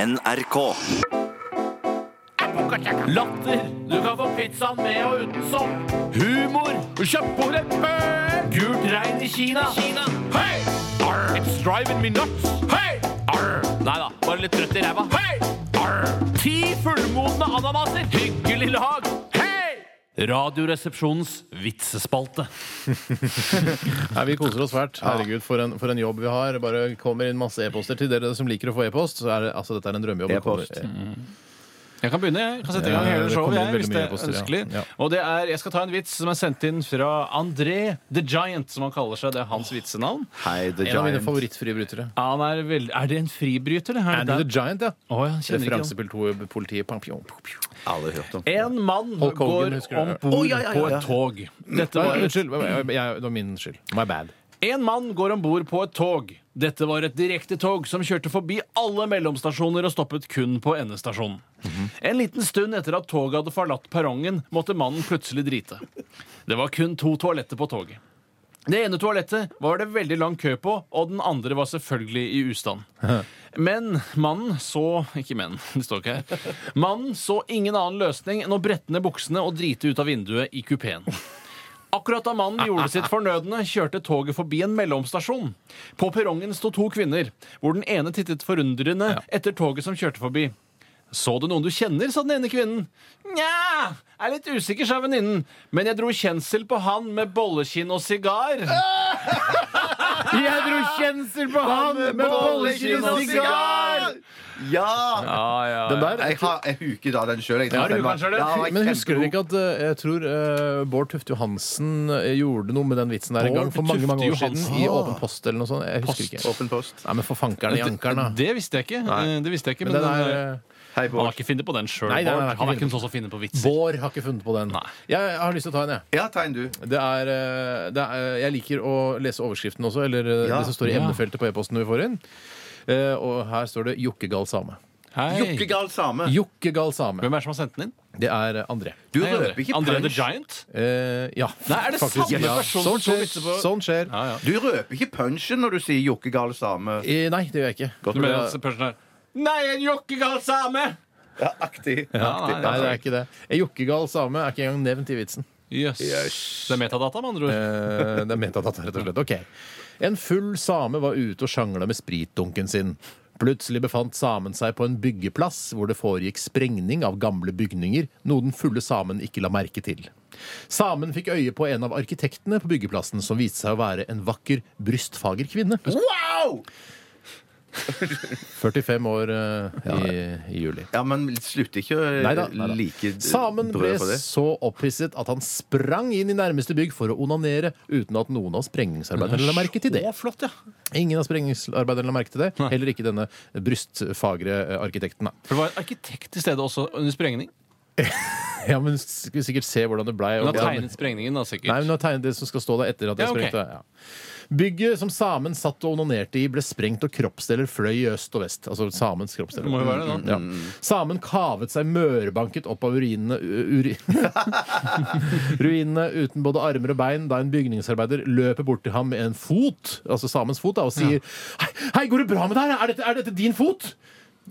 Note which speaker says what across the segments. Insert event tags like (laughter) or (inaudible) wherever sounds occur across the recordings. Speaker 1: NRK.
Speaker 2: Latter. Du kan få pizzaen med og uten sopp. Humor. Kjøttbordet bøl. Gult regn i Kina. Hei! Arr. It's driving me nuts. Hei! Arr. Nei da, bare litt trøtt i ræva. Hei! Arr. Ti fullmodne ananaser. Hyggelig lag. Hei! Radioresepsjonens vitsespalte.
Speaker 3: Nei, Vi koser oss svært. Herregud, for en, for en jobb vi har. Bare kommer inn masse e-poster til dere som liker å få e-post. Så er det, altså, dette er en drømmejobb. Det
Speaker 1: E-post. Mm.
Speaker 3: kommer-
Speaker 4: Jeg kan begynne. Jeg kan sette i gang
Speaker 3: Ja,
Speaker 4: hele
Speaker 3: det
Speaker 4: showet.
Speaker 3: kommer
Speaker 4: Jeg,
Speaker 3: veldig
Speaker 4: hvis
Speaker 3: mye
Speaker 4: det er
Speaker 3: e-poster, ja.
Speaker 4: ønskelig.
Speaker 3: Ja.
Speaker 4: Og det er, Jeg skal ta en vits som er sendt inn fra André The Giant, som han kaller seg. Det er hans vitsenavn.
Speaker 1: Hei, The
Speaker 3: En av mine
Speaker 1: Giant.
Speaker 3: favorittfribrytere.
Speaker 4: Han er, veld... er det en fribryter? det her?
Speaker 3: Andy the
Speaker 4: Det er-
Speaker 3: Giant, ja.
Speaker 4: Å, jeg kjenner ikke han.
Speaker 3: Referansebild 2, politiet. Pam, pjom, pjom, pjom.
Speaker 1: Aldri hørt om.
Speaker 4: En mann
Speaker 3: Hulk Hogan,
Speaker 4: går
Speaker 3: husker du
Speaker 4: om
Speaker 3: det?
Speaker 4: bord
Speaker 1: Å, ja, ja, ja,
Speaker 4: på
Speaker 1: ja.
Speaker 4: et tog. Dette
Speaker 3: Nei,
Speaker 4: var et
Speaker 3: (laughs) Unnskyld. jeg- jeg- jeg- Det var min skyld. My bad.
Speaker 4: En mann går om bord på et tog. Dette var et direktetog som kjørte forbi alle mellomstasjoner og stoppet kun på endestasjonen. En liten stund etter at toget hadde forlatt perrongen, måtte mannen plutselig drite. Det var kun to toaletter på toget. Det ene toalettet var det veldig lang kø på, og den andre var selvfølgelig i ustand. Men mannen så Ikke men, (laughs) det står ikke her. Mannen så ingen annen løsning enn å brette ned buksene og drite ut av vinduet i kupeen. Akkurat da mannen gjorde sitt fornødne, kjørte toget forbi en mellomstasjon. På perrongen sto to kvinner, hvor den ene tittet forundrende etter toget som kjørte forbi. Så du noen du kjenner, sa den ene kvinnen. Nja, er litt usikker, sa venninnen. Men jeg dro kjensel på han med bollekinn og sigar.
Speaker 3: (laughs) Jeg dro kjensel på han med
Speaker 1: bollekinn og sigar! Ja!
Speaker 3: Den der
Speaker 5: Jeg har jeg huker da den sjøl.
Speaker 4: Ja, du huker den selv, ja.
Speaker 3: Men husker dere ikke at eh, jeg tror eh, Bård Tufte Johansen eh, gjorde noe med den vitsen der en
Speaker 4: Bård
Speaker 3: gang for mange
Speaker 4: Tufte
Speaker 3: mange år siden?
Speaker 4: Johansen.
Speaker 3: I Åpen post eller noe sånt. Jeg husker ikke.
Speaker 5: Åpen post.
Speaker 3: Nei, men for fankeren i ankeren, da.
Speaker 4: Det visste jeg ikke. Eh, Det visste jeg ikke
Speaker 3: Men
Speaker 4: men
Speaker 3: den
Speaker 4: den
Speaker 3: er
Speaker 4: er-
Speaker 3: eh,
Speaker 5: Hei,
Speaker 4: Han
Speaker 5: Bård.
Speaker 4: har ikke funnet på den sjøl.
Speaker 3: Nei, nei, nei,
Speaker 4: Han
Speaker 3: han har
Speaker 4: er
Speaker 3: ikke
Speaker 4: ikke noen som finner på vitser.
Speaker 3: Bård har ikke funnet på den.
Speaker 4: Nei.
Speaker 3: Jeg, jeg har lyst til å ta en, jeg.
Speaker 5: Ja, ta en, du.
Speaker 3: Det er, eh, det er, jeg liker å lese overskriften også, eller eh,
Speaker 5: Ja.
Speaker 3: det som står i
Speaker 4: Ja.
Speaker 3: emnefeltet på e-posten vi får inn. Eh, og her står det 'jokkegal same'.
Speaker 4: Hei.
Speaker 5: Jokkegal same.
Speaker 3: Jokkegal same.
Speaker 4: Hvem er det som har sendt den inn?
Speaker 3: Det er eh, André.
Speaker 5: Du
Speaker 4: Hei,
Speaker 5: røper ikke
Speaker 4: André the
Speaker 5: punch.
Speaker 4: Giant?
Speaker 3: Eh, ja,
Speaker 4: Nei, er det samme
Speaker 3: ja.
Speaker 4: person
Speaker 3: Sånt
Speaker 4: som
Speaker 3: skjer.
Speaker 4: vitser på-
Speaker 3: Sånt skjer.
Speaker 4: Ja, ja.
Speaker 5: Du røper ikke punchen når du sier jokkegal same.
Speaker 3: Eh, nei, det gjør jeg ikke.
Speaker 4: Du mener at personen er Nei, en jokkegal same!
Speaker 5: Ja, aktig.
Speaker 4: Ja,
Speaker 3: Nei, det er ikke det. En jokkegal same er ikke engang nevnt i vitsen.
Speaker 4: Jøss. Det er metadata, med andre ord.
Speaker 3: Eh, det er metadata, rett og slett. Ok. En full same var ute og sjangla med spritdunken sin. Plutselig befant samen seg på en byggeplass hvor det foregikk sprengning av gamle bygninger, noe den fulle samen ikke la merke til. Samen fikk øye på en av arkitektene på byggeplassen, som viste seg å være en vakker, brystfager kvinne. (laughs)
Speaker 5: Wow!
Speaker 3: 45 år eh, i, i juli.
Speaker 5: Ja, men slutter ikke å
Speaker 3: Neida, neida.
Speaker 5: like
Speaker 3: Samen ble
Speaker 5: brød for det.
Speaker 3: så opphisset at han sprang inn i nærmeste bygg for å onanere, uten at noen av sprengningsarbeiderne la merke til det.
Speaker 4: Å, flott, ja.
Speaker 3: Ingen av sprengningsarbeiderne la merke til det. Heller ikke denne brystfagre eh, arkitekten. da. (laughs)
Speaker 4: For det var en arkitekt til stede også under sprengning.
Speaker 3: Ja, men skulle sikkert se hvordan det blei. og
Speaker 4: Hun har
Speaker 3: hvordan-
Speaker 4: tegnet sprengningen, da, sikkert.
Speaker 3: Nei, men hun har tegnet det som skal stå der etter at det
Speaker 4: Ja, ok.
Speaker 3: sprengte. Ja. Bygget som samen satt og onanerte i, ble sprengt, og kroppsdeler fløy i øst og vest. Altså samens kroppsdeler.
Speaker 4: Det må jo være
Speaker 5: mm,
Speaker 4: det, da.
Speaker 3: Ja. Mm. Samen kavet seg mørbanket opp av ruinene u- uri- (laughs) Ruinene uten både armer og bein da en bygningsarbeider løper bort til ham med en fot, altså samens fot, da, og sier Hei, hei, går det bra med deg? Er dette, er dette din fot?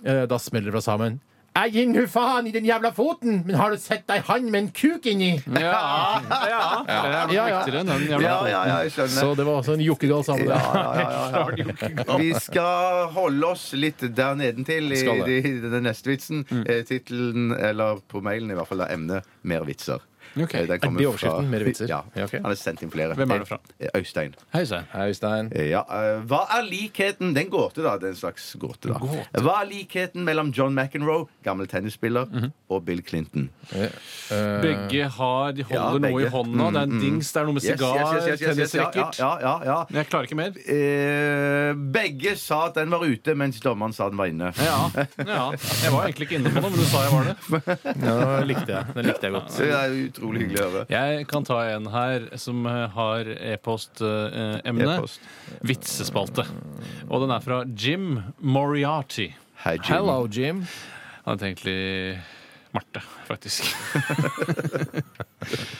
Speaker 3: Eh, Da smeller det fra sammen. Jeg gir nu faen i den jævla foten, men har du sett ei hand med en kuk inni?
Speaker 4: Ja, ja. ja. Det
Speaker 3: Ja,
Speaker 4: er
Speaker 3: ja.
Speaker 4: viktigere enn den jævla
Speaker 5: mm. Ja, ja, ja, jeg skjønner.
Speaker 3: Så det var også en jokkegal same.
Speaker 5: Ja,
Speaker 3: det.
Speaker 5: ja, ja, ja. Vi skal holde oss litt der nedentil i,
Speaker 3: Skal
Speaker 5: i,
Speaker 3: det. Mm.
Speaker 5: den neste vitsen. Eh, Tittelen, eller på mailen i hvert fall, er emnet 'Mer vitser'.
Speaker 4: Ok.
Speaker 5: Eh, den kommer
Speaker 3: Er det overskriften,
Speaker 5: fra-
Speaker 3: «Mer vitser»?
Speaker 5: Ja.
Speaker 3: Ja, ok.
Speaker 5: Han har sendt inn flere.
Speaker 4: Hvem er det fra?
Speaker 5: Eh, Øystein.
Speaker 4: Hei sann.
Speaker 3: Hei, Øystein.
Speaker 5: Eh, Ja, eh, Hva er likheten Det er en gåte, da. Det er en slags gåte, da. Hva er likheten mellom John McEnroe, gammel tennisspiller, og Bill Clinton?
Speaker 4: Begge har De
Speaker 5: Eh, Ja,
Speaker 4: holder noe
Speaker 5: begge. Mm,
Speaker 4: i hånda. Det er en dings, det er noe med
Speaker 5: Yes,
Speaker 4: sigar,
Speaker 5: yes, yes, yes, yes, yes, ja,
Speaker 4: tennisracket.
Speaker 5: Ja, ja, ja, ja.
Speaker 4: Men Jeg klarer ikke mer.
Speaker 5: Eh, begge sa at den var ute, mens dommeren sa den var inne.
Speaker 4: Ja, ja. Jeg var egentlig ikke inne på noe, men du sa jeg var det.
Speaker 3: Ja, den likte jeg. Den likte jeg godt.
Speaker 5: Så det er utrolig hyggelig å høre.
Speaker 4: Jeg kan ta en her som eh, har e-postemne.
Speaker 5: E-post.
Speaker 4: Vitsespalte. Og den er fra Jim Moriarty.
Speaker 5: Hei, Jim.
Speaker 3: Hello, Jim.
Speaker 4: Han heter egentlig Marte, faktisk. (laughs)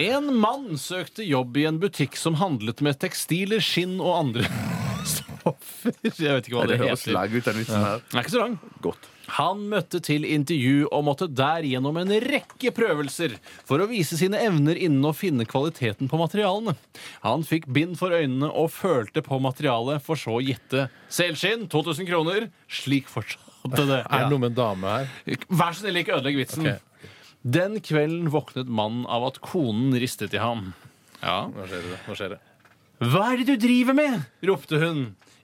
Speaker 4: En mann søkte jobb i en butikk som handlet med tekstiler, skinn og andre (laughs) Hoffer. Jeg vet ikke hva
Speaker 5: Det
Speaker 4: det,
Speaker 5: høres
Speaker 4: heter.
Speaker 5: slag ut, den vitsen her.
Speaker 4: Den er ikke så lang.
Speaker 5: Godt.
Speaker 4: Han møtte til intervju og måtte der gjennom en rekke prøvelser for å vise sine evner innen å finne kvaliteten på materialene. Han fikk bind for øynene og følte på materialet, for så å gjette. Selskinn 2000 kroner. Slik fortsatte det.
Speaker 3: Er det noe med en dame her?
Speaker 4: Vær så snill, ikke ødelegg vitsen.
Speaker 3: Ok.
Speaker 4: Den kvelden våknet mannen av at konen ristet i ham. Ja,
Speaker 3: Nå skjer det. Nå skjer det.
Speaker 4: hva er det du driver med? ropte hun.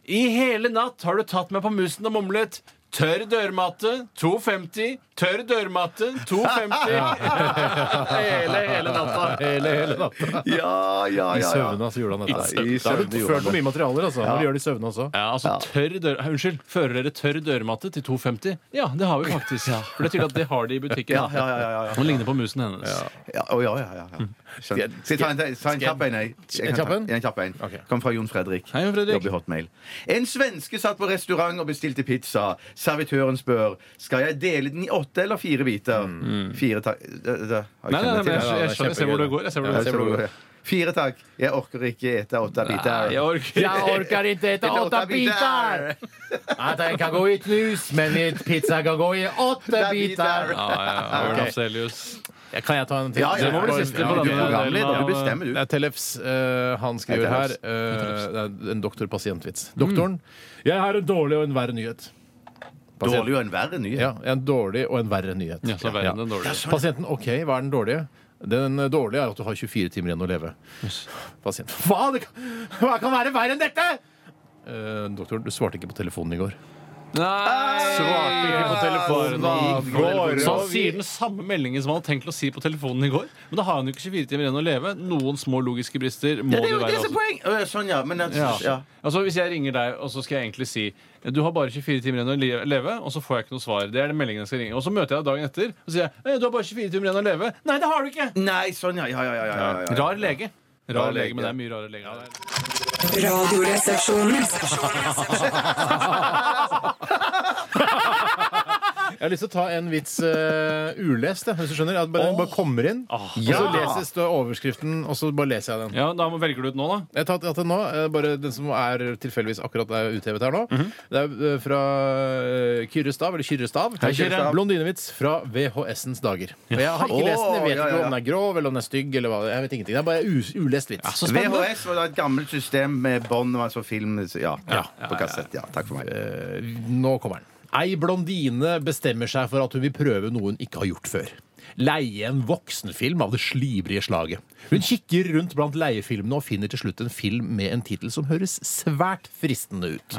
Speaker 4: I hele natt har du tatt meg på musen og mumlet. Tørr dørmatte, 2,50. Tørr dørmatte,
Speaker 3: (laughs)
Speaker 4: 2,50. hele, hele natta.
Speaker 3: Hele, hele natta.
Speaker 5: Ja, ja,
Speaker 3: I
Speaker 5: ja. ja.
Speaker 3: søvne altså, gjorde han dette.
Speaker 5: I
Speaker 3: Da har
Speaker 5: søvne
Speaker 3: du
Speaker 5: gjorde han
Speaker 3: ført på mye materialer, altså. Når du gjør det i søvne også.
Speaker 4: Ja, altså tørr dør... Hei, Unnskyld, fører dere tørr dørmatte til 2,50? Ja, det har vi faktisk. For det er tydelig at det har de i butikken.
Speaker 5: Ja, ja, ja, ja, ja.
Speaker 4: Hun ligner på musen hennes.
Speaker 5: Ja, å, ja, ja, ja, ja. Skjønner. Skal jeg ta en, til? ta en kjapp en? jeg? Jeg
Speaker 3: En
Speaker 5: kan
Speaker 3: kjapp
Speaker 5: ta-
Speaker 3: en?
Speaker 5: En kjapp en.
Speaker 3: Ok.
Speaker 5: Kom fra Jon Fredrik.
Speaker 4: Hei, Jon Fredrik.
Speaker 5: Jobber i Hotmail. En svenske satt på restaurant og bestilte pizza. Servitøren spør skal jeg dele den i åtte eller fire biter. Mm. Fire takk
Speaker 4: Nei, nei, nei, men jeg,
Speaker 3: Ja, det er
Speaker 4: jeg, skjønner, jeg ser hvor det
Speaker 3: kjempegøy.
Speaker 4: går. Jeg ser hvor
Speaker 3: Ja,
Speaker 4: det går.
Speaker 3: jeg ser hvor det går.
Speaker 5: Fire takk. Jeg orker ikke ete åtte biter.
Speaker 4: Jeg orker
Speaker 3: orker ikke ete At jeg kan gå i knus, men et pizza kan gå i åtte
Speaker 5: biter.
Speaker 4: Ja, ja,
Speaker 5: (laughs)
Speaker 4: ja. Ørn Afzelius.
Speaker 3: Kan jeg ta en til?
Speaker 5: Ja, ja,
Speaker 4: Det må bli
Speaker 5: ja,
Speaker 4: siste
Speaker 5: ja,
Speaker 4: på
Speaker 5: Du
Speaker 4: denne
Speaker 5: er programleder.
Speaker 4: delen
Speaker 5: Du
Speaker 4: av-
Speaker 5: bestemmer,
Speaker 3: Det
Speaker 5: du.
Speaker 3: er Tellefs. eh, han skriver
Speaker 5: Hei,
Speaker 3: her
Speaker 5: Tellefs.
Speaker 3: eh, Det er Mm. en doktor-pasient-vits. Doktoren. Jeg har en dårlig og en verre nyhet.
Speaker 5: Dårlig og en verre nyhet.
Speaker 3: Ja, en dårlig og en verre nyhet.
Speaker 4: Ja, så verre enn den dårlige.
Speaker 3: Pasienten OK, hva er den dårlige? Den eh, dårlige er at du har 24 timer igjen å leve. Pasient. Hva? Det kan, hva kan være verre enn dette?! Eh, doktor, du svarte ikke på telefonen i går.
Speaker 4: Nei! Svarte ikke på telefonen.
Speaker 5: går.
Speaker 4: Så han sier den samme meldingen som han hadde tenkt å si på telefonen i går. Men da har han jo ikke 24 timer igjen å leve. Noen små logiske brister må
Speaker 5: Ja, det er
Speaker 4: det
Speaker 5: jo det
Speaker 4: være.
Speaker 5: som er
Speaker 4: Også.
Speaker 5: poeng! Å, ja, Sånn, ja. Men at-
Speaker 4: Ja.
Speaker 5: ja.
Speaker 4: Altså, hvis jeg ringer deg, og så skal jeg egentlig si Du har bare 24 timer igjen å le- leve, og så får jeg ikke noe svar. Det er den meldingen jeg skal ringe Og så møter jeg deg dagen etter, og så sier jeg «Eh, Du har bare 24 timer igjen å leve. Nei, det har du ikke!
Speaker 5: Nei, sånn, ja. Ja, ja, ja. ja, ja, ja.
Speaker 4: Rar lege.
Speaker 5: Rar
Speaker 4: Rar
Speaker 5: lege,
Speaker 4: lege, men det
Speaker 5: ja.
Speaker 4: er mye rare leger.
Speaker 6: Radioresepsjonen.
Speaker 3: Jeg har lyst til å ta en vits eh, ulest, jeg, hvis du skjønner. At bare, den bare kommer inn, og så
Speaker 5: Ja.
Speaker 3: leses det overskriften, og så bare leser jeg den.
Speaker 4: Ja, da må- velger du ut nå, da.
Speaker 3: Jeg tar til nå, eh, bare den som er tilfeldigvis akkurat er uthevet her nå.
Speaker 5: Mhm.
Speaker 3: Det er eh, fra eh, Kyrre Stav, eller Kyrre Stav.
Speaker 5: Hei, Kyrre Stav.
Speaker 3: Blondinevits fra VHS-ens dager. Og jeg har ikke lest den, jeg vet
Speaker 5: Å, ja,
Speaker 3: ikke
Speaker 5: ja, ja.
Speaker 3: om den er grov eller om den er stygg. Eller hva. Jeg vet ingenting. Det er bare u ulest vits.
Speaker 5: VHS var da et gammelt system med bånd og altså film ja, på kassett. Ja, takk for meg.
Speaker 3: Eh, Nå kommer den. Ei blondine bestemmer seg for at hun vil prøve noe hun ikke har gjort før. Leie en voksenfilm av det slibrige slaget. Hun kikker rundt blant leiefilmene og finner til slutt en film med en tittel som høres svært fristende ut.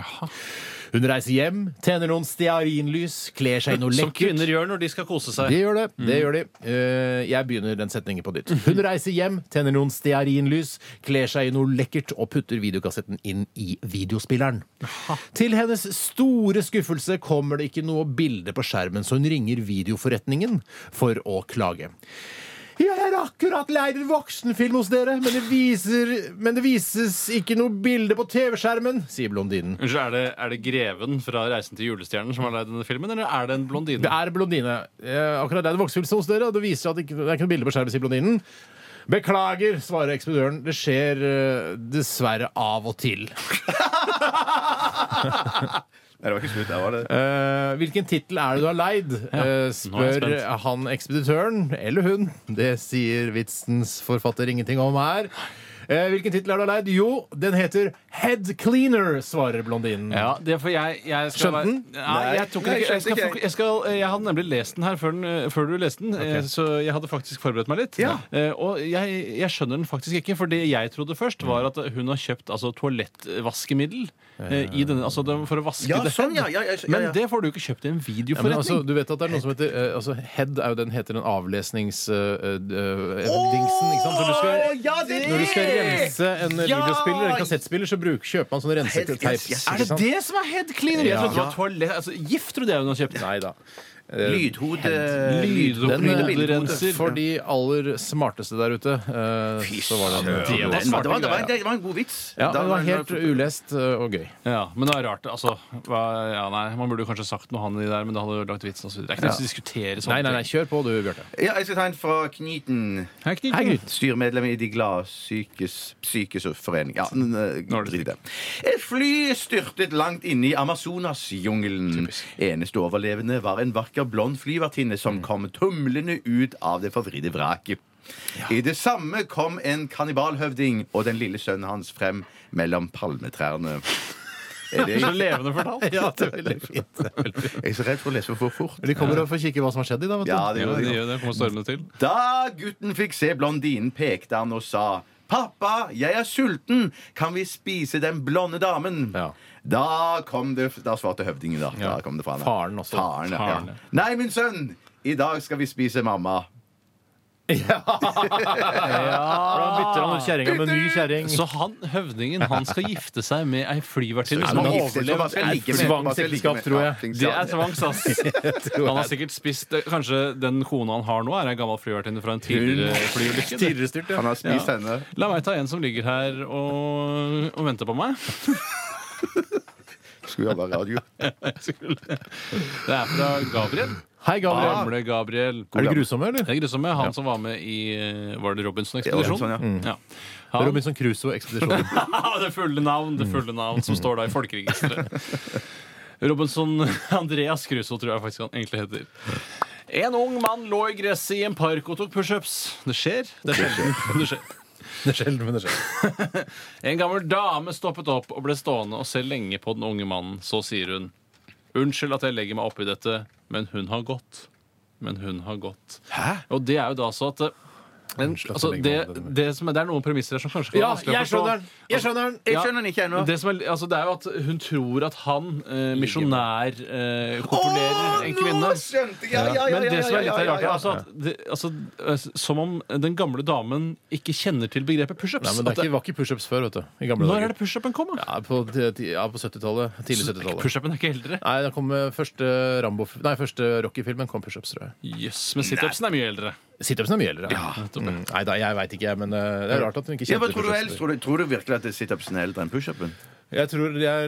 Speaker 3: Hun reiser hjem, tenner noen stearinlys, kler seg i noe
Speaker 4: Som
Speaker 3: lekkert.
Speaker 4: kvinner gjør når de skal kose seg.
Speaker 3: Det gjør det. det gjør de. Eh, jeg begynner den setningen på nytt. Hun reiser hjem, tenner noen stearinlys, kler seg i noe lekkert og putter videokassetten inn i videospilleren. Til hennes store skuffelse kommer det ikke noe bilde på skjermen, så hun ringer videoforretningen for å klage. Jeg har akkurat leid en voksenfilm hos dere, men det, viser, men det vises ikke noe bilde på TV-skjermen, sier blondinen.
Speaker 4: Unnskyld, er det, er det Greven fra Reisen til julestjernen som har leid denne filmen, eller er det en blondine?
Speaker 3: Det er blondine. Eh, akkurat det er en voksenfilm hos dere, og det viser at det ikke det er ikke noe bilde på skjermen, sier blondinen. Beklager, svarer ekspeditøren. Det skjer eh, dessverre av og til.
Speaker 5: Nei, det var ikke slutt. Der var det.
Speaker 3: Eh, hvilken tittel er det du har leid?
Speaker 4: nå er
Speaker 3: Eh,
Speaker 4: jeg
Speaker 3: spør han ekspeditøren, eller hun. Det sier vitsens forfatter ingenting om her. Eh, hvilken tittel er det du har leid? Jo, den heter Head Cleaner, svarer blondinen.
Speaker 4: Ja, det er for jeg, jeg skal
Speaker 3: Skjønte den?
Speaker 4: Være, nei, jeg tok den
Speaker 5: Nei,
Speaker 4: ikke. Jeg, skal,
Speaker 5: skjønte ikke.
Speaker 4: jeg, skal, jeg hadde nemlig lest den her før, den, før du leste den, eh, så jeg hadde faktisk forberedt meg litt.
Speaker 5: Ja.
Speaker 4: Eh, og jeg, jeg skjønner den faktisk ikke, for det jeg trodde først, var at hun har kjøpt altså, toalettvaskemiddel eh, i denne, altså, det- for å vaske
Speaker 5: Ja,
Speaker 4: det.
Speaker 5: sånn, ja. ja, ja, ja,
Speaker 4: Men
Speaker 5: ja.
Speaker 4: det får du ikke kjøpt i en
Speaker 3: Ja, men altså,
Speaker 4: videoforretning.
Speaker 3: du vet at det er noe som heter eh, altså, Head er jo den heter den eh, avlesningsdingsen. eh, ikke sant? Når du skal,
Speaker 5: ja, det er
Speaker 3: når du skal
Speaker 5: det!
Speaker 3: rense en
Speaker 5: Ja!
Speaker 3: videospiller, en kassettspiller, så bruk, kjøper man sånne
Speaker 5: Helt-
Speaker 3: renseteips.
Speaker 5: yes, yes, yes.
Speaker 4: er det det som er head cleaner? Jeg
Speaker 3: Ja.
Speaker 4: trodde det var toalett, altså, gift trodde jeg hun har kjøpt.
Speaker 3: Nei da. eh,
Speaker 5: Lydhode...
Speaker 3: Den,
Speaker 5: Lyd- og
Speaker 3: eh,
Speaker 5: bilderenser.
Speaker 3: For de aller smarteste der ute, eh, så var
Speaker 4: søren.
Speaker 3: det
Speaker 5: Det var, det, var, det, var, det var en god vits.
Speaker 3: Ja,
Speaker 5: Da
Speaker 3: det var helt
Speaker 5: det-
Speaker 3: ulest eh, og gøy.
Speaker 4: Ja, men det er rart. Altså, hva, ja, nei, man burde jo kanskje sagt noe han i der, men det hadde jo lagt vitsen og så videre. Det er ikke noe å diskutere sånne
Speaker 3: Nei, nei, nei, kjør på du, Bjarte.
Speaker 5: Ja, jeg skal ta en fra Kniten.
Speaker 4: ting.
Speaker 3: Hei, Gryt.
Speaker 5: Styremedlem i De glade psykes, psykes forening. Ja, n- n-
Speaker 4: Nå er det
Speaker 5: drit i det. Et fly styrtet langt inne i Amazonasjungelen. Eneste overlevende var en vakker blond flyvertinne
Speaker 4: Mm.
Speaker 5: som kom tumlende ut av det forvridde vraket. I det samme kom en kannibalhøvding og den lille sønnen hans frem mellom
Speaker 4: (laughs)
Speaker 5: palmetrærne. Er det,
Speaker 4: Så levende fortalt.
Speaker 3: (laughs) Ja, det er veldig fint.
Speaker 5: jeg er så redd for å lese for fort.
Speaker 3: De kommer og får kikke hva som har skjedd i dag, vet du.
Speaker 5: Ja, det
Speaker 4: Jo,
Speaker 5: gjør
Speaker 4: det
Speaker 5: jeg.
Speaker 4: gjør det. Kommer stormende til.
Speaker 5: Da gutten fikk se blondinen, pekte han og sa Pappa, jeg er sulten. Kan vi spise den blonde damen?
Speaker 3: Ja.
Speaker 5: Da kom det Da svarte høvdingen, da. da kom det fra han.
Speaker 3: Faren også.
Speaker 5: Faren, ja.
Speaker 4: Faren, ja.
Speaker 5: Nei, min sønn, i dag skal vi spise mamma.
Speaker 3: Da bytter han kjerringa med en ny kjerring.
Speaker 4: Så han, høvdingen, han skal gifte seg med ei flyvertinne
Speaker 5: Så
Speaker 4: som
Speaker 5: man
Speaker 4: har
Speaker 5: gifter seg, så man skal
Speaker 4: overlevd.
Speaker 5: ligge med-
Speaker 3: tvangsekteskap,
Speaker 5: man skal ligge med-
Speaker 3: tror jeg.
Speaker 5: Ja,
Speaker 4: Det er tvangs, (laughs) ass. Han har sikkert spist eh, Kanskje den kona han har nå, er ei gammel flyvertinne fra en
Speaker 3: eh,
Speaker 4: tidligere flyulykke? det.
Speaker 3: Tidligere styrt, ja.
Speaker 5: Han har spist henne.
Speaker 4: La meg ta en som ligger her og, og venter på meg.
Speaker 5: Skulle jobbe radio.
Speaker 4: Det er fra Gabriel.
Speaker 3: Hei, Gabriel.
Speaker 4: Gamle Gabriel.
Speaker 3: Er det grusomme, eller?
Speaker 4: Det er grusomme. Han som var med i eh, Var det
Speaker 5: Ja,
Speaker 4: Robinson-ekspedisjonen?
Speaker 5: Robinson,
Speaker 4: ja. Mm. (laughs) Han-
Speaker 3: Robinson Crusoe-ekspedisjonen.
Speaker 4: det fulle navn, det fulle navn som står da i folkeregisteret. (laughs) Robinson Andreas Crusoe tror jeg faktisk han egentlig heter. En ung mann lå i gresset i en park og tok pushups. Det skjer. Det er sjelden. Det skjer.
Speaker 3: Det er sjelden, men det skjer.
Speaker 4: En gammel dame stoppet opp og ble stående og se lenge på den unge mannen. Så sier hun Unnskyld at jeg legger meg oppi dette, men hun har gått. Men hun har gått. Hæ? Og det er jo da så at eh, en,
Speaker 3: Unnskyld at jeg
Speaker 4: altså,
Speaker 3: legger
Speaker 4: det,
Speaker 3: meg oppi dette, men-
Speaker 4: det, som er, det er noen premisser her som kanskje kan være vanskelig å forstå.
Speaker 3: Jeg skjønner den!
Speaker 5: Jeg
Speaker 4: Ja.
Speaker 5: skjønner den ikke ennå.
Speaker 4: Det, som er, altså, det er jo at hun tror at han, eh, misjonær, eh, kontrollerer en kvinne.
Speaker 5: Nå skjønte jeg! Ja, ja, ja, ja,
Speaker 4: Men det som er litt
Speaker 5: ja, ja,
Speaker 4: rart, er
Speaker 5: ja.
Speaker 4: altså at det, altså, eh, som om den gamle damen ikke kjenner til begrepet
Speaker 3: Nei,
Speaker 4: pushups.
Speaker 3: men
Speaker 4: At
Speaker 3: det er
Speaker 4: det-
Speaker 3: ikke, var ikke pushups før, vet du. I gamle
Speaker 4: Når er
Speaker 3: dager.
Speaker 4: det pushupen kom, da?
Speaker 3: Ja, på ti- ti- ja, på 70-tallet. Tidlig 70-tallet.
Speaker 4: Pushupen er ikke eldre.
Speaker 3: Nei, da kom eh, første Rambo Nei, første Rocky-filmen kom pushups, tror jeg.
Speaker 4: Jøss, men situpsen er mye eldre.
Speaker 3: Situpsen er mye eldre. Ja. Mm. Nei da, jeg veit ikke, jeg, men eh, det er rart at hun ikke
Speaker 5: Ja, hva
Speaker 3: kjente
Speaker 5: tror du helst?
Speaker 3: pushups.
Speaker 5: Tror du, tror du virkelig at situpsen er eldre enn pushupen?
Speaker 3: Jeg tror de, er,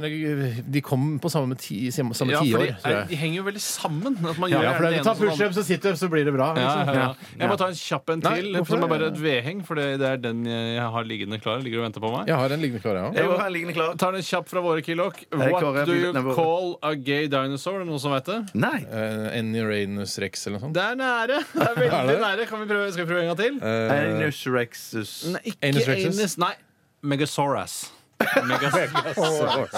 Speaker 3: de kom på samme, ti, samme
Speaker 4: Ja, for
Speaker 3: tiår,
Speaker 4: de,
Speaker 3: tror
Speaker 4: er, de
Speaker 3: jeg.
Speaker 4: henger jo veldig sammen. At man
Speaker 3: Ja,
Speaker 4: gjør
Speaker 3: for
Speaker 4: det
Speaker 3: det,
Speaker 4: ene
Speaker 3: Ta
Speaker 4: som det andre.
Speaker 3: pushups og situps, så blir det bra.
Speaker 4: Ja,
Speaker 3: Liksom.
Speaker 4: ja, ja. Jeg må ta en kjapp en
Speaker 3: Nei,
Speaker 4: til, som
Speaker 3: hvorfor
Speaker 4: er
Speaker 3: det?
Speaker 4: bare et vedheng. For det det er den jeg har liggende klar. Ligger og venter på meg.
Speaker 3: Jeg har en liggende klar, jeg òg.
Speaker 5: Jeg må ha en liggende klar.
Speaker 4: tar den kjapp fra våre killok.
Speaker 5: Nei,
Speaker 4: What
Speaker 5: Kåre,
Speaker 4: do you
Speaker 5: nei, våre.
Speaker 4: call a gay dinosaur? Er det Noen som vet det?
Speaker 5: Nei.
Speaker 3: Eh, En Uranus Rex eller noe sånt.
Speaker 4: Det er nære. Det
Speaker 3: (laughs)
Speaker 4: er veldig nære. Kan vi prøve, skal vi prøve en gang til?
Speaker 5: Anus rexus.
Speaker 4: Nei, ikke
Speaker 3: Eh, Anus Rexus?
Speaker 4: anus. Nei. Megasaurus.
Speaker 5: Det var gøyere.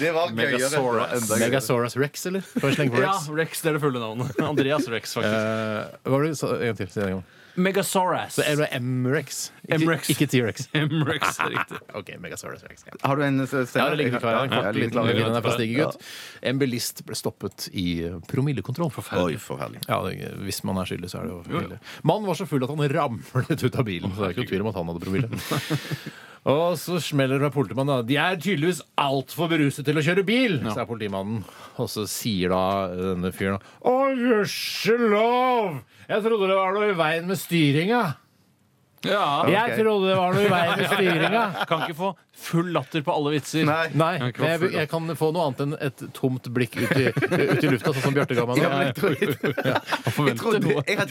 Speaker 5: Det var enda gøyere.
Speaker 3: Megasaurus Rex, eller? Kan vi slenge på
Speaker 4: Ja,
Speaker 3: Rex?
Speaker 4: Rex det er det fulle navnet. (laughs) Andreas Rex, faktisk.
Speaker 3: Eh, hva var det du sa en gang til? Si det en gang.
Speaker 4: Megasaurus.
Speaker 3: Det
Speaker 4: (laughs)
Speaker 3: er M-Rex.
Speaker 4: M-Rex.
Speaker 3: Ikke T-Rex.
Speaker 4: M-Rex, det er riktig.
Speaker 3: OK, Megasaurus Rex. Ja.
Speaker 5: Har du en eh, scene?
Speaker 3: Ja, det ligger klar. En
Speaker 5: Ja,
Speaker 3: kort
Speaker 5: jeg ligger
Speaker 3: liten
Speaker 5: klar.
Speaker 4: liten
Speaker 3: den er fra Stigegutt. En bilist ble stoppet i promillekontroll.
Speaker 5: Oi, forferdelig.
Speaker 3: Ja, det, Hvis man er skyldig, så er det jo forferdelig. Mannen var så full at han ramlet ut av bilen. Så det er ikke noe tvil om at han hadde (laughs) promille. Og så smeller det med politimannen. da. De er tydeligvis altfor beruset til å kjøre bil, sa politimannen. Og så sier da denne fyren Å, gudskjelov! Jeg trodde det var noe i veien med styringa.
Speaker 4: Ja.
Speaker 3: Jeg trodde det var noe i veien med styringa.
Speaker 4: Kan ikke få full latter på alle vitser.
Speaker 5: Nei.
Speaker 3: (laughs) Nei,
Speaker 4: Jeg kan
Speaker 3: men jeg,
Speaker 4: få-
Speaker 3: jeg kan få noe annet enn et tomt blikk ut i, ut i lufta, sånn som Bjarte ga meg
Speaker 5: Ja, men jeg
Speaker 3: nå.
Speaker 5: tror- Jeg trodde- jeg hadde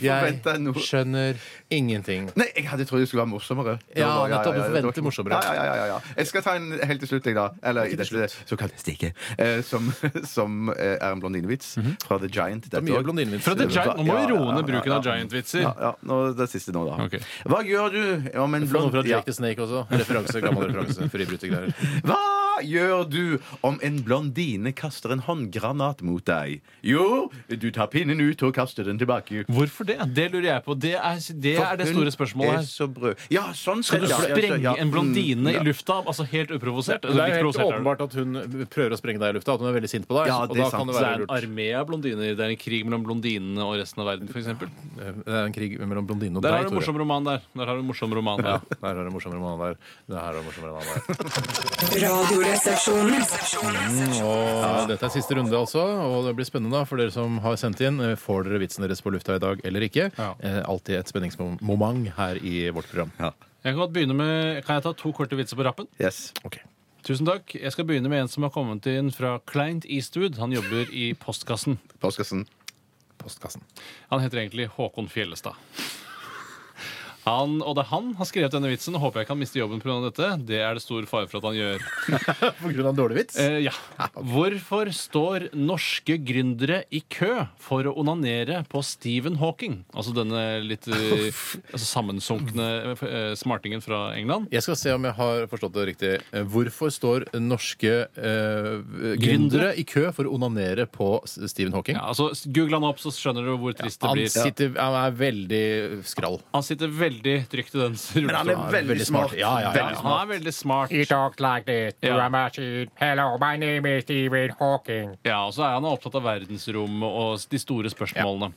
Speaker 5: forventa
Speaker 3: Jeg
Speaker 5: noe.
Speaker 3: skjønnere ingenting.
Speaker 5: Nei, jeg hadde trodd det skulle være morsommere. Det
Speaker 3: Ja,
Speaker 5: var bare-
Speaker 3: nettopp, du
Speaker 5: det var
Speaker 3: forventer
Speaker 5: ikke-
Speaker 3: morsommere.
Speaker 5: Ja, ja, ja, ja, ja. Jeg skal ta en helt til slutt, jeg, da. Eller i dette såkalte stikket. Eh, som (laughs) som eh, er en blondinevits fra The Giant. Dette
Speaker 3: Mhm. Mye
Speaker 5: også.
Speaker 3: blondinevits.
Speaker 4: Fra The Giant, nå må
Speaker 5: Ja,
Speaker 4: vi
Speaker 5: ja,
Speaker 4: roe
Speaker 5: ja,
Speaker 4: ned bruken av
Speaker 5: ja, ja.
Speaker 4: Giant-vitser.
Speaker 5: Ja, ja, nå, det siste nå, da.
Speaker 4: Ok.
Speaker 5: Hva gjør du om en
Speaker 3: Noe
Speaker 5: blond
Speaker 3: fra
Speaker 5: ja.
Speaker 3: Jake the Snake også. Referanse, gammel referanse. Fribrytergreier.
Speaker 5: Hva gjør du om en blondine kaster en håndgranat mot deg? Jo, du tar pinnen ut og kaster den tilbake.
Speaker 4: Hvorfor det? Det lurer jeg på. Det er det, er det store spørsmålet
Speaker 5: Er
Speaker 4: her.
Speaker 5: så brød. Ja, sånn
Speaker 4: Skal du
Speaker 5: sett, ja, ja,
Speaker 4: sprenge
Speaker 5: så- ja.
Speaker 4: en blondine
Speaker 5: Mm, ja.
Speaker 4: i lufta? Altså helt uprovosert?
Speaker 3: Det er jo helt åpenbart at hun prøver å sprenge deg i lufta, at hun er veldig sint på deg.
Speaker 5: Ja,
Speaker 3: og
Speaker 5: det er
Speaker 3: da kan
Speaker 5: sant.
Speaker 3: det
Speaker 4: Så det
Speaker 3: være
Speaker 4: er en
Speaker 3: lurt.
Speaker 4: armé av blondiner. Det er en krig mellom blondinene og resten av verden, f.eks.
Speaker 3: Eh, Det er en krig mellom blondine og
Speaker 4: Der har
Speaker 3: deg,
Speaker 4: du en
Speaker 3: Tore.
Speaker 4: morsom roman der. Der har du en morsom roman
Speaker 3: Ja,
Speaker 4: der.
Speaker 3: der har du en morsom roman der. Der har du en morsom roman der.
Speaker 6: Radioresepsjonen. Radioresepsjonen.
Speaker 3: Og dette er siste runde også, og det blir spennende da, for dere som har sendt inn. eh, Får dere vitsen deres på lufta i dag eller ikke?
Speaker 4: Ja.
Speaker 3: Eh, Alltid et spenningsmoment her i vårt program.
Speaker 4: Jeg kan godt begynne med Kan jeg ta to korte vitser på rappen?
Speaker 5: Yes.
Speaker 4: Tusen takk. Jeg skal begynne med en som har kommet inn fra Client Eastwood. Han jobber i postkassen.
Speaker 5: Mm. Postkassen.
Speaker 3: Postkassen.
Speaker 4: Han heter egentlig Håkon Fjellestad. Han, og det er han har skrevet denne vitsen, og håper jeg ikke han mister jobben pga. dette. Det er det stor fare for at han gjør.
Speaker 3: På grunn av en dårlig vits?
Speaker 4: Eh, ja. Hvorfor står norske gründere i kø for å onanere på Stephen Hawking? Altså denne litt eh, altså sammensunkne eh, smartingen fra England.
Speaker 3: Jeg skal se om jeg har forstått det riktig. Eh, Hvorfor står norske eh, gründere i kø for å onanere på S- Stephen Hawking?
Speaker 4: Ja, altså, Google han opp, så skjønner du hvor trist det
Speaker 3: Han,
Speaker 4: blir.
Speaker 3: sitter, han er veldig skrall.
Speaker 4: Han sitter veldig trygt i den rullestolen.
Speaker 5: Men han er veldig,
Speaker 3: veldig smart.
Speaker 5: smart.
Speaker 3: Ja, ja, ja.
Speaker 5: Veldig
Speaker 4: Ja, han er veldig smart.
Speaker 7: He talks like this to
Speaker 4: Yeah.
Speaker 7: a machine. Hello, my name is Stephen Hawking.
Speaker 4: Ja, og så er han opptatt av verdensrommet og de store spørsmålene.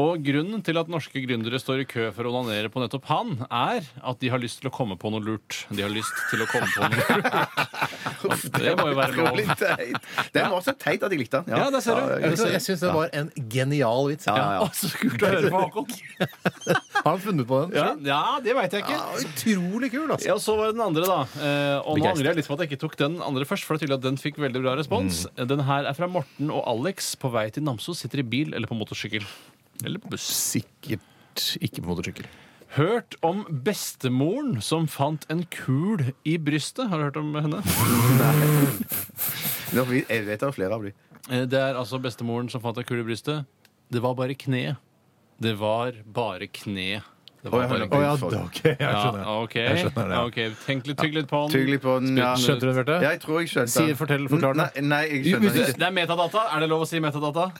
Speaker 4: Og grunnen til at norske gründere står i kø for å onanere på nettopp han, er at de har lyst til å komme på noe lurt. De har lyst til å komme på noe (laughs) lurt. Det må jo
Speaker 5: (laughs)
Speaker 4: være lov.
Speaker 5: Utrolig teit. Den var også teit at jeg likte den.
Speaker 4: Ja, der ser du.
Speaker 3: Jeg, jeg syns det var en genial vits.
Speaker 4: Å, så kult å høre på Håkon.
Speaker 3: Har han funnet på den?
Speaker 4: Ja, ja det veit jeg ikke.
Speaker 3: Utrolig kul, altså.
Speaker 4: Ja, og så var det den andre, da. Eh, og nå
Speaker 3: Begeistret.
Speaker 4: angrer jeg litt på at jeg ikke tok den andre først. For det er tydelig at den fikk veldig bra respons.
Speaker 3: Mm.
Speaker 4: Eh, Den her er fra Morten og Alex på vei til Namsos. Sitter i bil eller på motorsykkel. Eller på buss.
Speaker 3: Sikkert ikke på motorsykkel.
Speaker 4: Hørt om bestemoren som fant en kul i brystet. Har du hørt om henne?
Speaker 5: Nå, vi- Jeg vet det er flere av dem.
Speaker 4: Eh, Det er altså bestemoren som fant en kul i brystet. Det var bare kneet. Det var bare kneet. Det var bare
Speaker 5: hører
Speaker 4: kneet.
Speaker 5: på.
Speaker 3: Å ja, da- ok, jeg skjønner.
Speaker 4: Ja, OK.
Speaker 3: Jeg skjønner det, ja.
Speaker 4: Ok, Tenk litt, tygg litt på den.
Speaker 5: Tygg litt på den. ja.
Speaker 3: Skjønte du det, Bjarte?
Speaker 5: Ja, jeg tror jeg skjønte
Speaker 3: Si- fortell, forklar
Speaker 5: Nei,
Speaker 3: det.
Speaker 5: nei, jeg skjønte den ikke.
Speaker 4: Det er metadata. Er det lov å si metadata?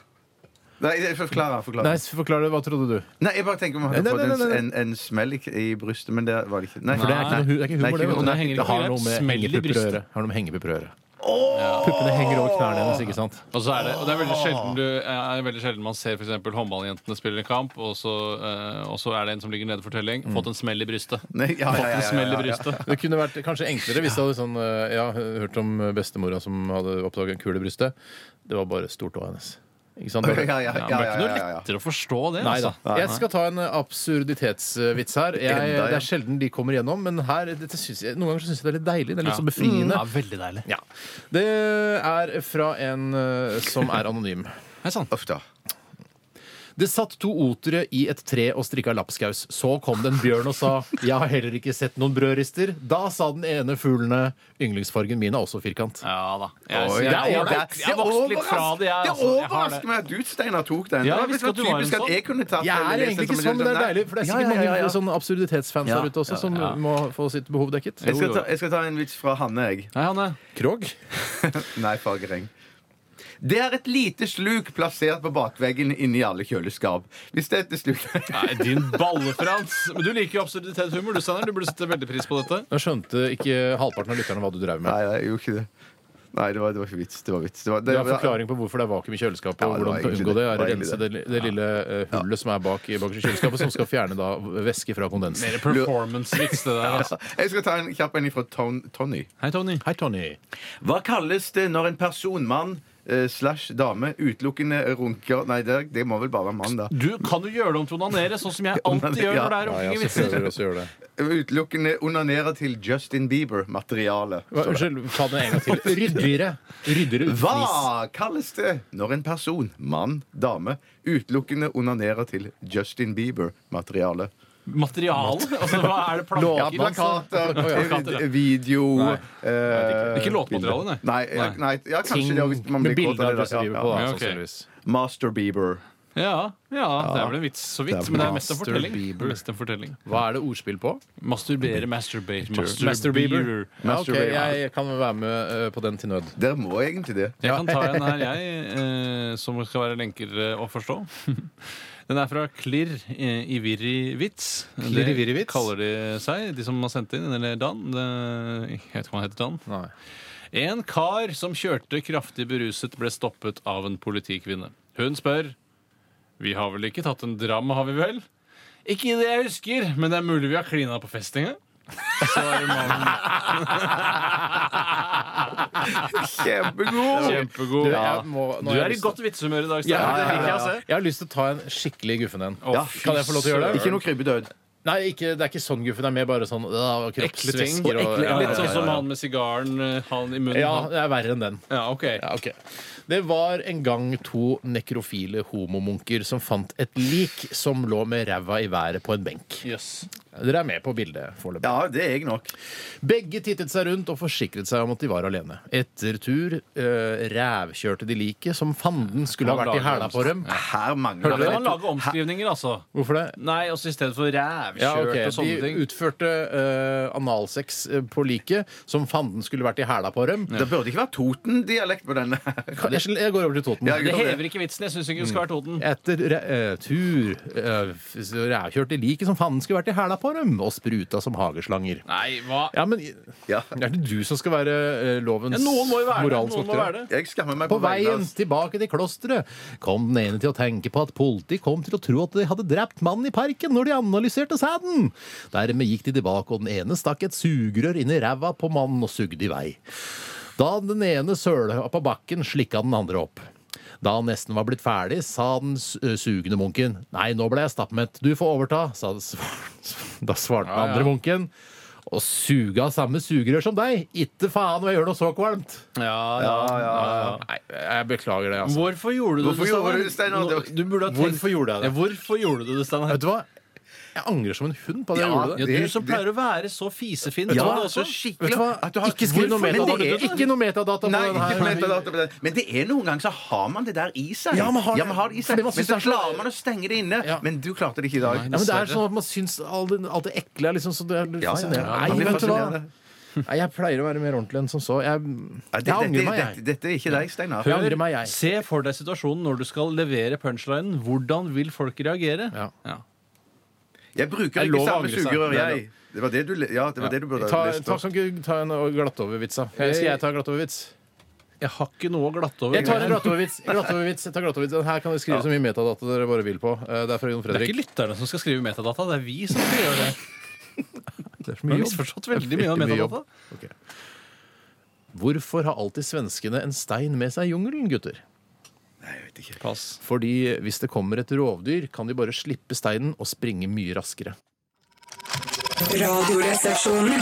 Speaker 5: Nei, jeg- forklar. forklar.
Speaker 3: Nei, forklar det. Hva trodde du?
Speaker 5: Nei, jeg bare tenker om han hadde
Speaker 3: Nei, nei,
Speaker 5: fått
Speaker 3: nei,
Speaker 5: en,
Speaker 3: nei.
Speaker 5: en, en smell i, i brystet, men det var det ikke. Nei,
Speaker 3: For det er ikke, noe, hu- det er ikke humor, det. vet du.
Speaker 4: det henger ikke
Speaker 3: det
Speaker 4: på
Speaker 3: har
Speaker 4: grep.
Speaker 3: noe med
Speaker 4: Smell i
Speaker 3: hengepupper å
Speaker 4: brystet.
Speaker 3: gjøre. Har noe med hengepupper å gjøre. Puppene henger over knærne hennes, ikke sant?
Speaker 4: Og, så er det, og det er veldig
Speaker 5: Ah.
Speaker 4: sjelden, du, er veldig sjelden man ser for eksempel håndballjentene spille en kamp, og så, eh, og så er det en som ligger nede for telling. Fått en smell i brystet.
Speaker 5: Nei, Mm. ja, ja, ja,
Speaker 4: Fått en
Speaker 5: ja,
Speaker 4: smell
Speaker 5: ja,
Speaker 4: i
Speaker 5: ja.
Speaker 4: brystet.
Speaker 3: Det kunne vært kanskje enklere hvis du hadde sånn eh, Ja, hørt om bestemora som hadde oppdaget en kule i brystet. Det var bare stortåa hennes. Ikke sant?
Speaker 5: Ja,
Speaker 4: Ja,
Speaker 5: ja, ja,
Speaker 4: men det er
Speaker 5: ja,
Speaker 4: ikke
Speaker 5: ja,
Speaker 4: noe
Speaker 5: ja, ja.
Speaker 4: lettere å forstå det.
Speaker 3: Nei da.
Speaker 4: altså.
Speaker 3: Jeg skal ta en eh, absurditetsvits her. Jeg,
Speaker 5: Enda, ja.
Speaker 3: det er sjelden de kommer gjennom, men her, dette synes jeg, noen ganger syns jeg det er litt deilig. Det
Speaker 4: Ja.
Speaker 3: er litt sånn befriende.
Speaker 4: Ja, veldig deilig.
Speaker 3: Ja. Det er fra en eh, som er anonym.
Speaker 4: Hei sann.
Speaker 5: Uff da.
Speaker 3: Det satt to otere i et tre og strikka lapskaus. Så kom det en bjørn og sa 'Jeg har heller ikke sett noen brødrister'. Da sa den ene fuglene 'Yndlingsfargen min er også firkant'.
Speaker 4: Ja da.
Speaker 5: Å,
Speaker 4: Jeg, jeg,
Speaker 5: ja,
Speaker 4: jeg,
Speaker 5: ja,
Speaker 4: jeg,
Speaker 5: det-
Speaker 4: har vokst litt fra det, jeg.
Speaker 5: det
Speaker 4: altså. Jeg har det.
Speaker 5: overrasker meg at du, Steinar, tok
Speaker 4: Ja,
Speaker 5: den. det
Speaker 4: jeg
Speaker 5: var
Speaker 4: visste
Speaker 5: liksom
Speaker 4: at du var en
Speaker 5: typisk at
Speaker 4: sånn.
Speaker 5: jeg kunne tatt
Speaker 3: Jeg er
Speaker 5: eller lest
Speaker 3: egentlig
Speaker 5: den
Speaker 3: ikke
Speaker 5: som en
Speaker 3: sånn, men det er
Speaker 5: Nei.
Speaker 3: deilig. For det er
Speaker 5: Ja,
Speaker 3: sikkert
Speaker 5: ja, ja, ja.
Speaker 3: mange sånne absurditetsfans
Speaker 5: Ja,
Speaker 3: der ute også som
Speaker 4: ja, ja.
Speaker 3: må få sitt behov dekket.
Speaker 5: Jeg skal, ta, jeg skal ta en vits fra Hanne, jeg.
Speaker 4: Hei, Hanne.
Speaker 3: Krog?
Speaker 5: Nei, Fagereng. Det er et lite sluk plassert på bakveggen inni alle kjøleskap. Hvis dette sluket (laughs)
Speaker 4: Nei, din balle-Frans. Men du liker jo absurditetshumor, du, Steinar. Du burde sette veldig pris på dette.
Speaker 3: Jeg skjønte ikke halvparten av lytterne hva du drev med.
Speaker 5: Nei, nei, jeg gjorde ikke det. Nei, det var, det var ikke vits. Det var vits. Det var,
Speaker 3: Det
Speaker 5: det,
Speaker 3: er forklaring på hvorfor det er vakuum i kjøleskapet.
Speaker 5: Ja,
Speaker 3: og
Speaker 5: det var
Speaker 3: hvordan du kan
Speaker 5: egentlig
Speaker 3: unngå det,
Speaker 5: det.
Speaker 3: er å
Speaker 5: Det var
Speaker 3: rense det, det lille eh, hullet som er bak i bakerste kjøleskapet, som skal fjerne da væske fra kondens.
Speaker 4: Mer performance-vits, det der. Altså.
Speaker 5: Jeg skal ta en kjapp en fra Ton, Tony.
Speaker 4: Hei, Tony.
Speaker 3: Hei, Tony.
Speaker 5: Hva kalles det når en person, mann eh, slash dame, utelukkende runker Nei, det, det må vel bare være mann, da.
Speaker 4: Du kan jo gjøre det om til onanere, sånn som jeg alltid gjør når det er
Speaker 3: Ja,
Speaker 4: runking
Speaker 3: jeg
Speaker 4: i vitser.
Speaker 3: prøver også å gjøre det.
Speaker 5: Utelukkende onanerer til Justin Bieber-materiale.
Speaker 3: Hva, unnskyld, ta den en gang til. Ryddigere. Ryddigere ufnis.
Speaker 5: Hva kalles det når en person, mann, dame, utelukkende onanerer til Justin Bieber-materiale?
Speaker 4: Materiale? Altså, hva er det liksom?
Speaker 5: Ja,
Speaker 4: planker?
Speaker 5: plakater,
Speaker 4: Plakater, ja.
Speaker 5: eh, video
Speaker 3: Nei,
Speaker 5: eh,
Speaker 4: Ikke låtmateriale, nei.
Speaker 5: Nei, eh, nei ja, kanskje
Speaker 3: Ting
Speaker 5: det, hvis man
Speaker 3: med
Speaker 5: blir
Speaker 3: bilder av
Speaker 5: kåt av det.
Speaker 3: presselivet
Speaker 5: da.
Speaker 3: på,
Speaker 5: Ja,
Speaker 3: da,
Speaker 4: Ja, ok.
Speaker 3: sannsynligvis.
Speaker 5: ja. Master Bieber.
Speaker 4: Ja, ja, det er vel en vits så vidt, men det er mest en
Speaker 3: Master
Speaker 4: fortelling.
Speaker 3: Bieber.
Speaker 4: Mest en fortelling.
Speaker 3: Hva er det ordspill på?
Speaker 4: Masturbere, masturbate,
Speaker 3: Master
Speaker 4: masturbere.
Speaker 3: Bieber. Ja, ok,
Speaker 5: Master Bieber.
Speaker 3: jeg kan være med eh, på den til nød.
Speaker 5: Dere må egentlig det.
Speaker 4: Jeg kan ta (laughs) en her, jeg, eh, som skal være lenker eh, å forstå. (laughs) Den er fra Klirr eh, i Virri Vits.
Speaker 3: Klirr i Virri
Speaker 4: Det
Speaker 3: Vits?
Speaker 4: kaller de seg, de som har sendt inn, eller Dan. Det- Jeg vet ikke hva han heter, Dan.
Speaker 3: Nei.
Speaker 4: En kar som kjørte kraftig beruset, ble stoppet av en politikvinne. Hun spør Vi har vel ikke tatt en dram, har vi vel? Ikke det jeg husker, men det er mulig vi har klina på festinga. svarer
Speaker 3: (laughs)
Speaker 4: mannen.
Speaker 3: (laughs)
Speaker 1: Kjempegod!
Speaker 4: Kjempegod.
Speaker 3: Du, jeg må- nå
Speaker 4: Du
Speaker 3: har
Speaker 4: er
Speaker 3: jeg
Speaker 4: i
Speaker 3: lyst til-
Speaker 4: godt vitsehumør i dag,
Speaker 3: Ja,
Speaker 4: Stein. Det liker jeg å se.
Speaker 3: Jeg har lyst til å ta en skikkelig guffen en.
Speaker 4: Å,
Speaker 5: Ja.
Speaker 4: fy
Speaker 3: Kan jeg få lov til å gjøre det?
Speaker 5: Ikke noe krybbedød.
Speaker 3: Nei, ikke, det er ikke sånn guffen. Det er mer bare sånn øh,
Speaker 4: Ekle ting.
Speaker 3: kroppsvæsker og
Speaker 4: Ekle-
Speaker 3: ja,
Speaker 4: Litt sånn
Speaker 3: ja,
Speaker 4: som
Speaker 3: ja,
Speaker 4: han med sigaren, eh, han i
Speaker 3: ja.
Speaker 4: munnen.
Speaker 3: Ja,
Speaker 4: han.
Speaker 3: det er verre enn den.
Speaker 4: Ja, ok.
Speaker 3: Ja, ok. Det var en gang to nekrofile homomunker som fant et lik som lå med ræva i været på en benk.
Speaker 4: Jøss.
Speaker 3: Dere er med på bildet foreløpig.
Speaker 5: Ja, det er jeg nok.
Speaker 3: Begge tittet seg rundt og forsikret seg om at de var alene. Etter tur øh, rævkjørte de liket som fanden skulle ha vært i hæla på dem.
Speaker 5: Her mangler
Speaker 4: Hører du han lager omskrivninger, altså?
Speaker 3: Hvorfor det?
Speaker 4: Nei, også i stedet for rævkjørt
Speaker 3: Ja, ok.
Speaker 4: og sånne
Speaker 3: De
Speaker 4: ting.
Speaker 3: utførte eh, analsex eh, på liket som fanden skulle vært i hæla på dem.
Speaker 5: Det burde ikke være Toten-dialekt på denne.
Speaker 3: Kan- Jeg, jeg går over til Toten.
Speaker 5: Ja, jeg-
Speaker 4: Det hever ikke vitsen. Jeg syns ikke det skal være Toten.
Speaker 3: Etter re eh, tur eh, f- så rævkjørte liket som fanden skulle vært i hæla på dem, og spruta som hageslanger.
Speaker 4: Nei, hva?
Speaker 3: Ja, men
Speaker 5: Ja.
Speaker 3: er det du som skal være eh, lovens
Speaker 4: Ja, noen må jo være det.
Speaker 3: moralens
Speaker 4: Noen må
Speaker 3: voktere?
Speaker 4: være det.
Speaker 5: Jeg skammer meg
Speaker 3: På
Speaker 5: på,
Speaker 3: veien tilbake til klosteret kom den ene til å tenke på at politiet kom til å tro at de hadde drept mannen i parken når de analyserte sæden. Dermed gikk de tilbake, og den ene stakk et sugerør inn i ræva på mannen og sugde i vei. Da den ene søla på bakken, slikka den andre opp. Da han nesten var blitt ferdig, sa den s- ø, sugende munken Nei, nå ble jeg stappmett. Du får overta, sa det svar- (laughs) Da svarte den andre munken. Og suga samme sugerør som deg. Itte faen hva jeg gjør noe så kvalmt. Nei, jeg beklager det, altså.
Speaker 4: Hvorfor gjorde du
Speaker 5: Hvorfor
Speaker 4: det,
Speaker 5: gjorde du det, Steinar?
Speaker 4: Nå- Du burde ha tenkt...
Speaker 3: Hvorfor gjorde jeg det?
Speaker 4: Ja, hvorfor gjorde du det, Steinar?
Speaker 3: Vet du hva? Jeg angrer som en hund på at jeg
Speaker 5: Ja,
Speaker 3: gjorde det.
Speaker 4: Ja, du
Speaker 5: Det-
Speaker 4: som
Speaker 5: det-
Speaker 4: pleier å være så fisefin.
Speaker 5: Ja,
Speaker 4: var det også.
Speaker 5: så skikkelig
Speaker 3: Vet du hva?
Speaker 5: at du har-
Speaker 3: Ikke skriv noe
Speaker 5: Hvorfor? Men
Speaker 3: metadata.
Speaker 5: det er-
Speaker 3: Ikke noe metadata på
Speaker 5: Nei,
Speaker 3: den
Speaker 5: ikke
Speaker 3: her.
Speaker 5: metadata på den. Men det er noen ganger så har man det der i seg.
Speaker 3: Ja, man har det.
Speaker 5: har det i seg.
Speaker 3: Fordi man
Speaker 5: Men
Speaker 3: synes
Speaker 5: så
Speaker 3: det er så-
Speaker 5: klarer man å stenge det inne.
Speaker 3: Ja.
Speaker 5: Men du klarte det ikke i dag.
Speaker 3: Ja, men det er sånn at Man syns alt det, alt det ekle er liksom så det er litt
Speaker 5: Ja, ja,
Speaker 3: fascinerende.
Speaker 5: ja, det blir
Speaker 3: Nei, vet du hva?
Speaker 5: fascinerende.
Speaker 3: Nei, jeg pleier å være mer ordentlig enn som så. Jeg,
Speaker 5: Ja,
Speaker 3: jeg angrer meg,
Speaker 5: dette,
Speaker 3: jeg.
Speaker 5: dette er ikke deg, Steinar.
Speaker 3: Jeg angrer meg, jeg.
Speaker 4: Se for deg situasjonen når du skal levere punchlinen. Hvordan vil folk reagere?
Speaker 3: Ja.
Speaker 5: Jeg bruker
Speaker 3: Jeg
Speaker 5: ikke
Speaker 3: lover å
Speaker 5: samme
Speaker 3: angre seg.
Speaker 5: sugerør,
Speaker 3: Det er
Speaker 5: jeg. Det var det du, ja, det, var det du burde
Speaker 3: Ta,
Speaker 5: lest
Speaker 3: ta,
Speaker 5: opp.
Speaker 3: kan ikke du ta en glattovervits, da. Skal jeg ta en glattovervits?
Speaker 4: Jeg har ikke noe å glatte over.
Speaker 3: Jeg tar en glattovervits. (laughs) glattovervits. Jeg tar glattovervits. Den her kan dere skrive så mye metadata dere bare vil på. Eh, Det er fra Jon
Speaker 4: Det er ikke
Speaker 3: Fredrik.
Speaker 4: lytterne som skal skrive metadata, det er vi som skal gjøre det.
Speaker 3: Det er så
Speaker 4: Vi har
Speaker 3: jobb.
Speaker 4: misforstått veldig mye av
Speaker 3: Mye jobb.
Speaker 4: metadata.
Speaker 3: Hvorfor har alltid svenskene en stein med seg i jungelen, gutter?
Speaker 4: Pass.
Speaker 3: Fordi hvis det kommer et rovdyr, kan de bare slippe steinen og springe mye raskere.
Speaker 6: Radioresepsjonen.